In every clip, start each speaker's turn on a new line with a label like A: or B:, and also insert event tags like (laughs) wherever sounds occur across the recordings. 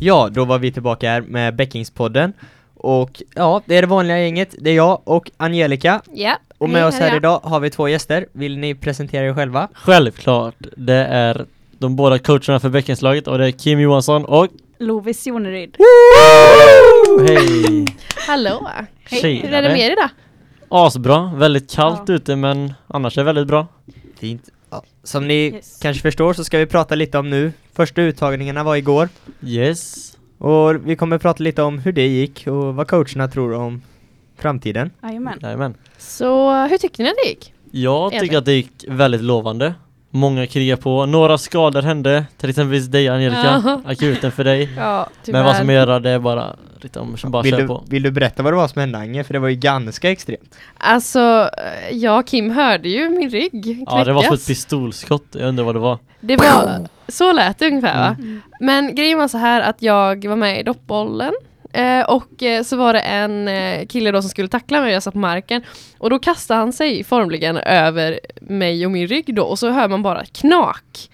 A: Ja, då var vi tillbaka här med Beckingspodden Och ja, det är det vanliga gänget, det är jag och Angelica
B: Ja.
A: Och med oss här idag har vi två gäster, vill ni presentera er själva?
C: Självklart, det är de båda coacherna för Bäckenslaget och det är Kim Johansson och
D: Lovis Joneryd.
C: hej!
B: Hallå! Hej!
C: Tjenare.
B: Hur är det med er idag?
C: Asbra, väldigt kallt ute men annars är det väldigt bra.
A: Fint Som ni
D: Yes.
A: kanske förstår så ska vi prata lite om nu Första uttagningarna var igår
C: Yes.
A: Och vi kommer prata lite om hur det gick och vad coacherna tror om framtiden
D: Jajamän.
C: Jajamän.
B: Så hur tyckte ni att det gick?
C: Jag tycker
B: Edvin.
C: att det gick väldigt lovande. Många krigar på, några skador hände, till exempel dig Angelica,
B: Ja.
C: akuten
B: (laughs)
C: för dig.
B: Ja,
C: Men vad som är göra det är bara, lite om, bara
A: vill
C: kör
A: du,
C: på.
A: vill du berätta vad det var som hände Ange? För det var ju ganska extremt
B: Alltså, eh, jag och Kim hörde ju min rygg knäckas.
C: Ja det var som ett pistolskott, jag undrar vad det var.
B: Det var- Så lät det ungefär va?
D: Mm.
B: Men grejen var så här att jag var med i doppbollen eh, och eh, så var det en eh, kille då som skulle tackla mig och jag satt på marken och då kastade han sig formligen över mig och min rygg då och så hör man bara knak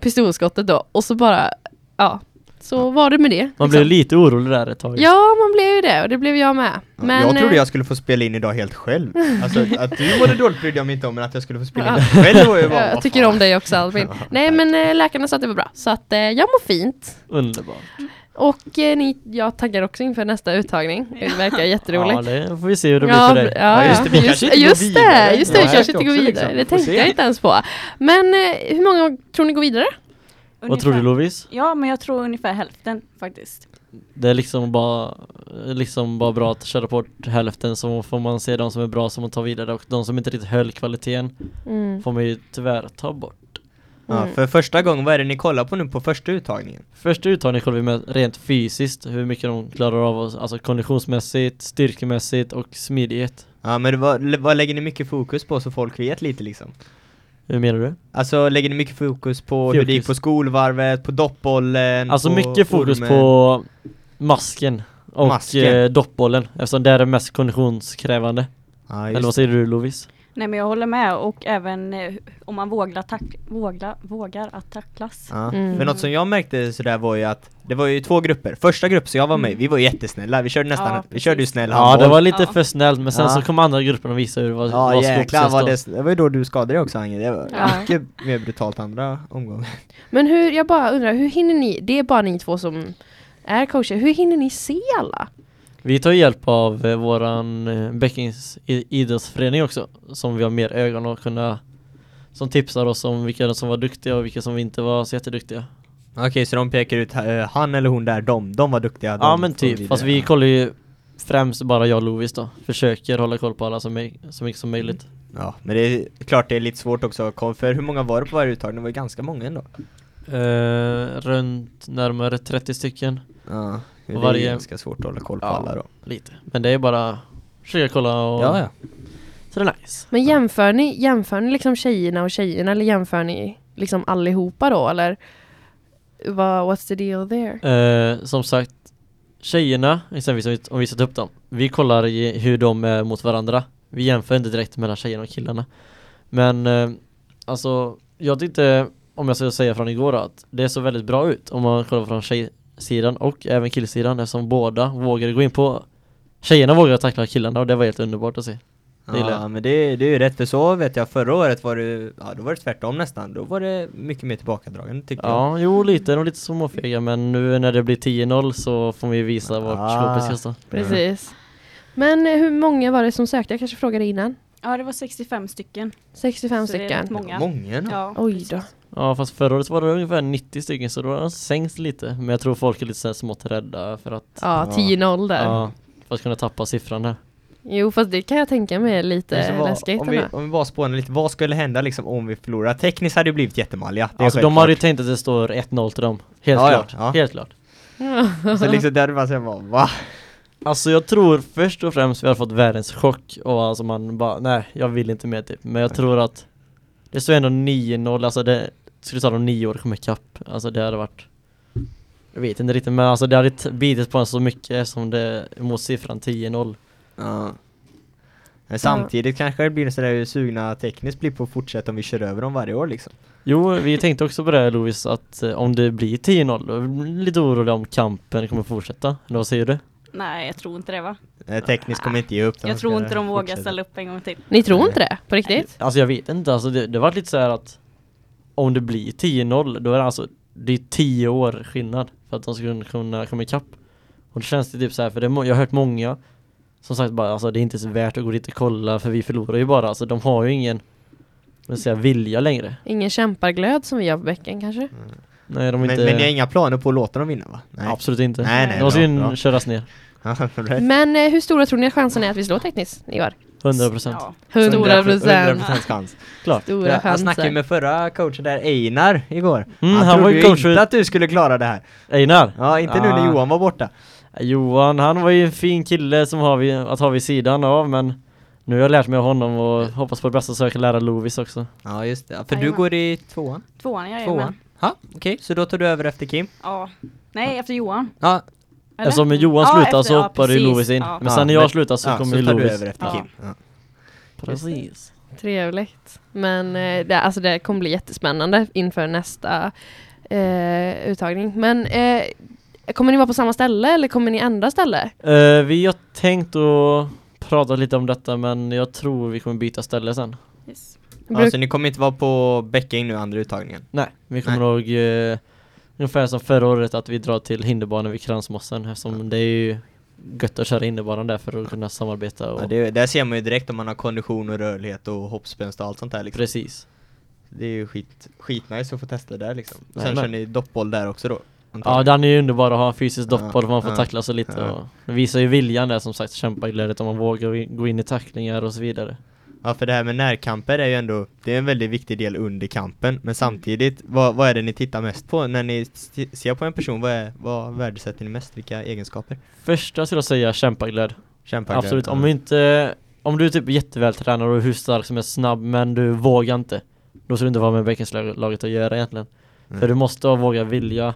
B: pistolskottet då och så bara ja så var det med det.
C: Man
B: liksom.
C: blev lite orolig där ett tag.
B: Ja man blev ju det och det blev jag med. Men,
A: Jag trodde
B: eh,
A: jag skulle få spela in idag helt
B: (laughs)
A: själv Alltså att du mådde dåligt brydde jag mig inte om men att jag skulle få spela in det själv var ju bara,
B: jag,
A: vad
B: tycker
A: fan.
B: om dig också Albin. Nej men eh, läkarna sa att det var bra så att eh, jag mår fint.
C: Underbart.
B: Och eh, ni, jag taggar också inför nästa uttagning. Det verkar jätteroligt.
C: Ja det får vi se hur det blir
B: Ja,
C: för dig.
B: ja,
A: Ja, just det, vi
B: ja.
A: kanske
B: just,
A: inte går
B: just
A: vidare.
B: det, just det, vi
C: Nej.
B: kanske inte
A: Också
B: går vidare.
A: liksom.
B: Det
A: Får
B: tänkte
A: se.
B: jag inte ens på. Men eh, hur många tror ni går vidare?
C: Vad tror du
D: Ungefär-
C: Lovis?
D: Ja, men jag tror ungefär hälften faktiskt.
C: Det är liksom bara, liksom bara bra att köra bort hälften så får man se de som är bra som man tar vidare och de som inte riktigt höll kvaliteten
B: Mm.
C: får man ju tyvärr ta bort.
A: Ja,
D: Mm.
A: för första gången, vad är det ni kollar på nu på första uttagningen?
C: Första uttagningen kollar vi med rent fysiskt, hur mycket de klarar av, oss, alltså konditionsmässigt, styrkemässigt och smidighet.
A: Ja men vad, vad lägger ni mycket fokus på så folk vet lite liksom?
C: Hur menar du?
A: Alltså lägger ni mycket fokus på hur det gick
C: Fokus.
A: på skolvarvet, på doppbollen?
C: Alltså
A: på
C: mycket fokus
A: ormen?
C: på masken och
A: Masken.
C: Eh, doppbollen eftersom det är det mest konditionskrävande.
A: Ja,
C: Eller vad
A: just.
C: säger du Lovis?
D: Nej, men jag håller med och även eh, om man vågar, tack- vågla- vågar att tacklas.
A: Ja.
B: Mm.
A: Men något som jag märkte sådär var ju att det var ju två grupper. Första gruppen som jag var med i,
D: Mm.
A: vi var jättesnälla. Vi körde nästan,
D: Ja,
A: vi körde ju
D: precis.
A: snäll
C: Ja det var lite
D: Ja.
C: för snällt men sen
A: Ja.
C: så kom andra gruppen och visade hur vad,
A: Ja
C: vad
A: jäklar
C: skåpet
A: vad
C: ska
A: det, det var ju då du skadade dig också Ange, det var
B: Ja.
A: mycket mer brutalt andra omgången.
B: Men hur, jag bara undrar, hur hinner ni, det är bara ni två som är coacher, hur hinner ni se alla?
C: Vi tar hjälp av eh, våran eh, Bäckings i- idrottsförening också som vi har mer ögon och kunna som tipsar oss om vilka som var duktiga och vilka som inte var så jätteduktiga.
A: (laughs) Okej så de pekar ut eh, han eller hon där, de, de var duktiga.
C: Ja
A: de
C: men
A: får
C: typ,
A: vidare.
C: fast vi kollar ju främst bara jag och Lovis då. Försöker hålla koll på alla så, my- så mycket som möjligt.
A: Ja, men det är klart det är lite svårt också att kolla, för hur många var det på varje uttagning? Det var ju ganska många ändå.
C: Eh, runt närmare 30 stycken.
A: Ja, det är
C: varje-
A: ganska svårt att hålla koll på
C: Ja.
A: alla då.
C: Lite. Men det är bara försöka kolla och så det är nice.
B: Men jämför ni, jämför ni liksom tjejerna och tjejerna eller jämför ni liksom allihopa då eller? Vad, what's the deal
A: Mm.
B: there?
C: Eh, som sagt, tjejerna, exempelvis om vi- om vi sätter upp dem, vi kollar i hur de är mot varandra. Vi jämför inte direkt mellan tjejerna och killarna. Men eh, alltså, jag tyckte, om jag ska säga från igår då, att det såg väldigt bra ut om man kollar från tjejsidan och även killsidan eftersom båda vågade gå in på Tjejerna vågade tackla killarna och det var helt underbart att se. Det gillar
A: Ja
C: jag.
A: men det, det är ju rätt för så vet jag förra året var det, ja då var det tvärtom nästan, då var det mycket mer tillbakadragande tycker jag.
C: Ja, jo lite, de är lite småfega men nu när det blir 10-0 så får vi visa vart
A: Ah.
C: skåpet ska stå.
B: Precis. Men eh, hur många var det som sökte? Jag kanske frågade innan.
D: Ja, det var 65 stycken.
B: 65
D: Så det är
B: stycken.
D: rätt många.
A: Många ändå.
D: Ja,
B: Oj
D: precis.
B: då.
C: Ja fast förra året var det ungefär 90 stycken så då har de sänkts lite Men jag tror folk är lite så här smått rädda för att
B: Ja, 10-0 där.
C: ja, för att kunna tappa siffran här
B: Jo fast det kan jag tänka mig är lite
A: Men så vad-
B: läskigt
A: om, vi,
B: ändå.
A: om vi bara spånar lite, vad skulle hända liksom om vi förlorar? Tekniskt hade det blivit jättemalliga. det är
C: Alltså de har ju
A: självklart.
C: tänkt att det står 1-0 till dem Helt
A: Ja, ja,
C: klart,
A: ja.
C: helt klart
A: Så liksom där man säger bara va?
C: Alltså jag tror först och främst vi har fått världens chock och alltså man bara nej jag vill inte mer typ Men jag tror att det står ändå 9-0 alltså det skulle ta dem 9 år att komma ikapp Alltså det hade varit Jag vet inte riktigt men alltså det hade t- bitit på en så mycket som det mot siffran 10-0
A: Ja. Men samtidigt kanske det blir sådär hur sugna tekniskt blir på att fortsätta om vi kör över dem varje år liksom.
C: Jo, vi tänkte också på det här, Lovis, att eh, om det blir 10-0, då är vi lite oroliga om kampen kommer fortsätta. Eller vad säger du?
D: Nej, jag tror inte det va?
A: Eh, tekniskt kommer inte ge upp. utan
D: Jag
A: de
D: tror
A: ska
D: inte de vågar
A: fortsätta.
D: ställa upp en gång till.
B: Ni tror inte det? På riktigt?
C: Alltså jag vet inte, alltså det, det var lite så här att om det blir 10-0, då är det alltså, det är 10 år skillnad för att de ska kunna komma ikapp. Och det känns det typ så här, för det, är må- jag har hört många som sagt bara, alltså det är inte så värt att gå dit och kolla för vi förlorar ju bara, alltså de har ju ingen vad ska jag säga, vilja längre.
B: Ingen kämparglöd som vi har på bäcken kanske?
C: Nej, de är
A: Men,
C: inte,
A: men ni har inga planer på att låta dem vinna va? Nej.
C: absolut inte.
A: Nej, nej,
C: de
A: (laughs)
C: ska
A: bra,
C: ju
A: bra.
C: köras ner,
A: Absolut.
B: Men eh, hur stora tror ni att chansen är att vi slår tekniskt i år?
C: 100%. procent.
D: Ja.
B: Hundra procent.
A: 100% chans.
C: Klart.
B: Stora
A: Jag, jag snackade ju
B: chanser.
A: med förra coachen där, Einar, igår.
C: Mm,
A: han,
C: han var
A: trodde
C: ju
A: ju
C: coach för-
A: inte att du skulle klara det här.
C: Einar!
A: Ja, inte nu när
C: Ah.
A: Johan var borta.
C: Johan, han var ju en fin kille som har vi, att ha vid sidan av men nu har jag lärt mig av honom och hoppas på det bästa så jag kan lära Lovis också.
A: Ja, just det. Ja, För du
D: Jajamän.
A: går i tvåan?
D: Tvåan, jajamän.
A: Tvåan? Ja, okej. Så då tar du över efter Kim?
D: Ja. Nej, efter Johan.
A: Ja,
D: eller?
C: Eftersom Johan
D: Ja,
C: slutar
D: efter-
C: så
D: ja,
C: hoppar ju
D: precis.
C: Lovis in.
D: Ja.
C: Men
A: Ja,
C: sen när jag
A: men-
C: slutar så
A: ja,
C: kommer ju
A: tar du
C: Lovis.
A: över efter
D: Ja.
A: Kim. Ja.
C: Precis.
B: Trevligt. Men eh, det, alltså det kommer bli jättespännande inför nästa eh, uttagning. Men eh, kommer ni vara på samma ställe eller kommer ni ändra ställe?
C: Eh, vi har tänkt att prata lite om detta men jag tror vi kommer byta ställe sen.
D: Yes.
B: Bruk-
A: Alltså ni kommer inte vara på Bäcking nu andra uttagningen?
C: Nej, vi kommer nog eh, ungefär som förra året att vi drar till hinderbanan vid Kransmossen eftersom det är ju gött att köra hinderbanan där för att kunna samarbeta och
A: Ja, det, där ser man ju direkt om man har kondition och rörlighet och hoppspänst och allt sånt där liksom.
C: precis.
A: Det är ju skit, skitnice att få testa det där liksom. Och sen
C: Jajamän.
A: kör ni doppboll där också då?
C: Ja,
A: antagligen.
C: den är ju underbar att ha en fysisk
A: Ja,
C: doppboll för man får
A: ja,
C: tackla sig lite
A: ja.
C: och det visar ju viljan där som sagt kämpa glädjet om man vågar gå in- gå in i tacklingar och så vidare.
A: Ja för det här med närkamper är ju ändå Det är en väldigt viktig del under kampen Men samtidigt, vad, vad är det ni tittar mest på? När ni se- ser på en person, vad, är, vad värdesätter ni mest? Vilka egenskaper?
C: Första skulle jag säga kämpaglöd.
A: Kämpar
C: Absolut, om du inte om du är typ jättevältränad och hur stark som är snabb men du vågar inte då ska du inte vara med Bäckenslaget att göra egentligen.
A: Mm.
C: För du måste ha- våga vilja,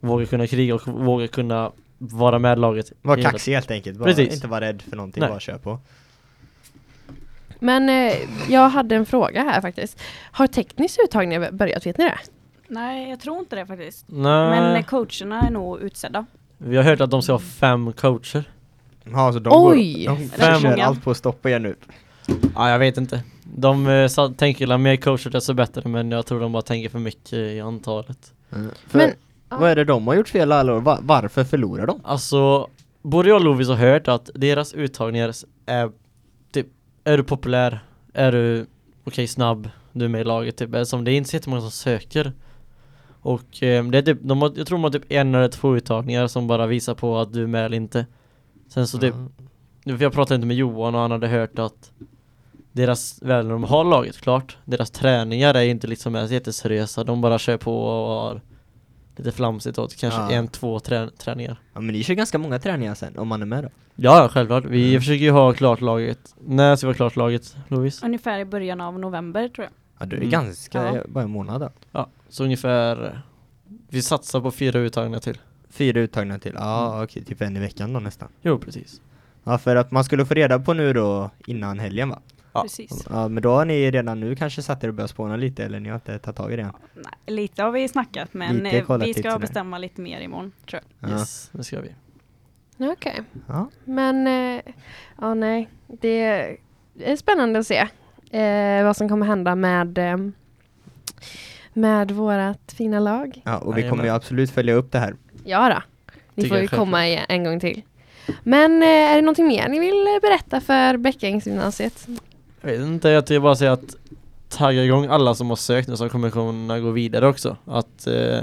C: våga kunna kriga och våga kunna vara med laget.
A: Var
C: i hela-
A: kaxig helt enkelt, bara,
C: Precis.
A: inte vara rädd för någonting,
C: Nej.
A: bara kör på
B: Men eh, jag hade en fråga här faktiskt. Har teknisk uttagning börjat, vet ni det?
D: Nej, jag tror inte det faktiskt.
C: Nej,
D: Men eh, coacherna är nog utsedda.
C: vi har hört att de ska ha fem coacher.
A: Ja så de
B: Oj!
A: går, de
C: Fem.
A: kör allt på att stoppa er nu
C: Ja, jag vet inte. De eh, sa, tänker la mer coacher desto bättre men jag tror de bara tänker för mycket i antalet.
A: För,
B: Men-
A: Vad är det de har gjort fel alla år? Va- varför förlorar de?
C: Alltså, både jag och Lovis har hört att deras uttagningar är typ, är du populär, är du okej snabb, du är med i laget typ. Eftersom det är inte så jättemånga som söker. Och eh, det är typ, de har, jag tror de har typ en eller två uttagningar som bara visar på att du är med eller inte. Sen så typ, Nu, för jag pratade inte med Johan och han hade hört att deras, väl när de har laget klart, deras träningar är inte liksom ens jätteseriösa, de bara kör på och har lite flamsigt åt kanske
A: Ja.
C: en, två trä- träningar.
A: Ja men ni kör ganska många träningar sen, om man är med då
C: Ja, ja, självklart. Vi försöker ju ha klart laget. När ska vi ha klart laget, Lovis?
D: Ungefär i början av november tror jag.
A: Ja du är
C: Mm.
A: ganska,
D: Ja.
A: bara en månad då
C: Ja, så ungefär eh, vi satsar på fyra uttagningar till.
A: Fyra uttagningar till, ja okej, typ en i veckan då nästan
C: Jo, precis.
A: Ja för att man skulle få reda på nu då innan helgen va?
C: Ja.
D: Precis.
A: Ja men då har ni redan nu kanske satt er och börjat spåna lite eller ni har inte tagit tag i det än?
D: Nej, lite har vi snackat men
A: Lite
D: eh,
A: kollat
D: vi ska
A: tidsen här.
D: bestämma lite mer imorgon tror jag.
A: Ja.
C: Yes, det ska vi.
B: Okej.
A: Ja.
B: Men eh, ja, nej. Det är spännande att se eh, vad som kommer hända med, eh, med vårat fina lag.
A: ja och vi
C: Jajamän.
A: kommer ju absolut följa upp det här
B: Ja då. Ni
C: Tycker
B: får
C: jag
B: ju
C: självklart.
B: komma igen en gång till. Men eh, är det någonting mer ni vill eh, berätta för Bäckängsgymnasiet?
C: Jag vet inte, jag tycker bara säga att tagga igång alla som har sökt nu som kommer kunna gå vidare också. Att eh,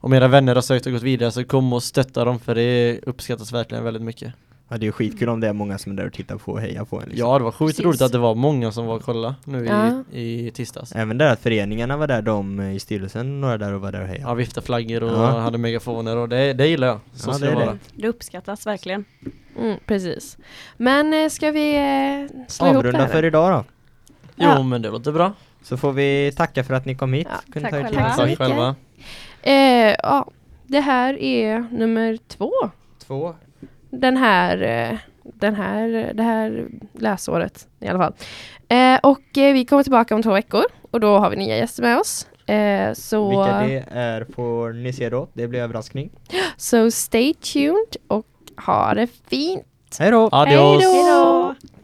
C: om era vänner har sökt och gått vidare så kom och stötta dem för det uppskattas verkligen väldigt mycket.
A: Ja det är ju skitkul om det är många som är där och tittar på och hejar på en liksom.
C: Ja, det var sjukt
B: Precis.
C: roligt att det var många som var och kolla nu
B: Ja.
C: i, i tisdags.
A: Även där att föreningarna var där, de eh, i styrelsen, några där och var där och hejade
C: Ja, viftade flaggor och
A: Ja.
C: hade megafoner och det, det gillar jag. Så
A: Ja,
C: ska
A: det
C: det
A: är
C: vara.
A: det.
D: Det uppskattas verkligen.
B: Mm, precis. Men eh, ska vi eh, slå ihop det
A: Avrunda
B: här?
A: för idag då
C: Jo,
B: Ja.
C: men det låter bra.
A: Så får vi tacka för att ni kom hit
B: Ja,
A: Kunde
D: tack
A: ta er tid.
D: själva.
B: så
C: Tack
B: mycket.
C: själva.
B: Eh, ja, det här är nummer två.
A: Två
B: Den här eh, den här, det här läsåret i alla fall. Eh, och eh, vi kommer tillbaka om två veckor och då har vi nya gäster med oss. Eh, så,
A: Vilka det är får ni se då. Det blir överraskning.
B: so stay tuned och ha det fint!
A: Hej då!
C: Adios!
B: Hej då!
D: Hejdå!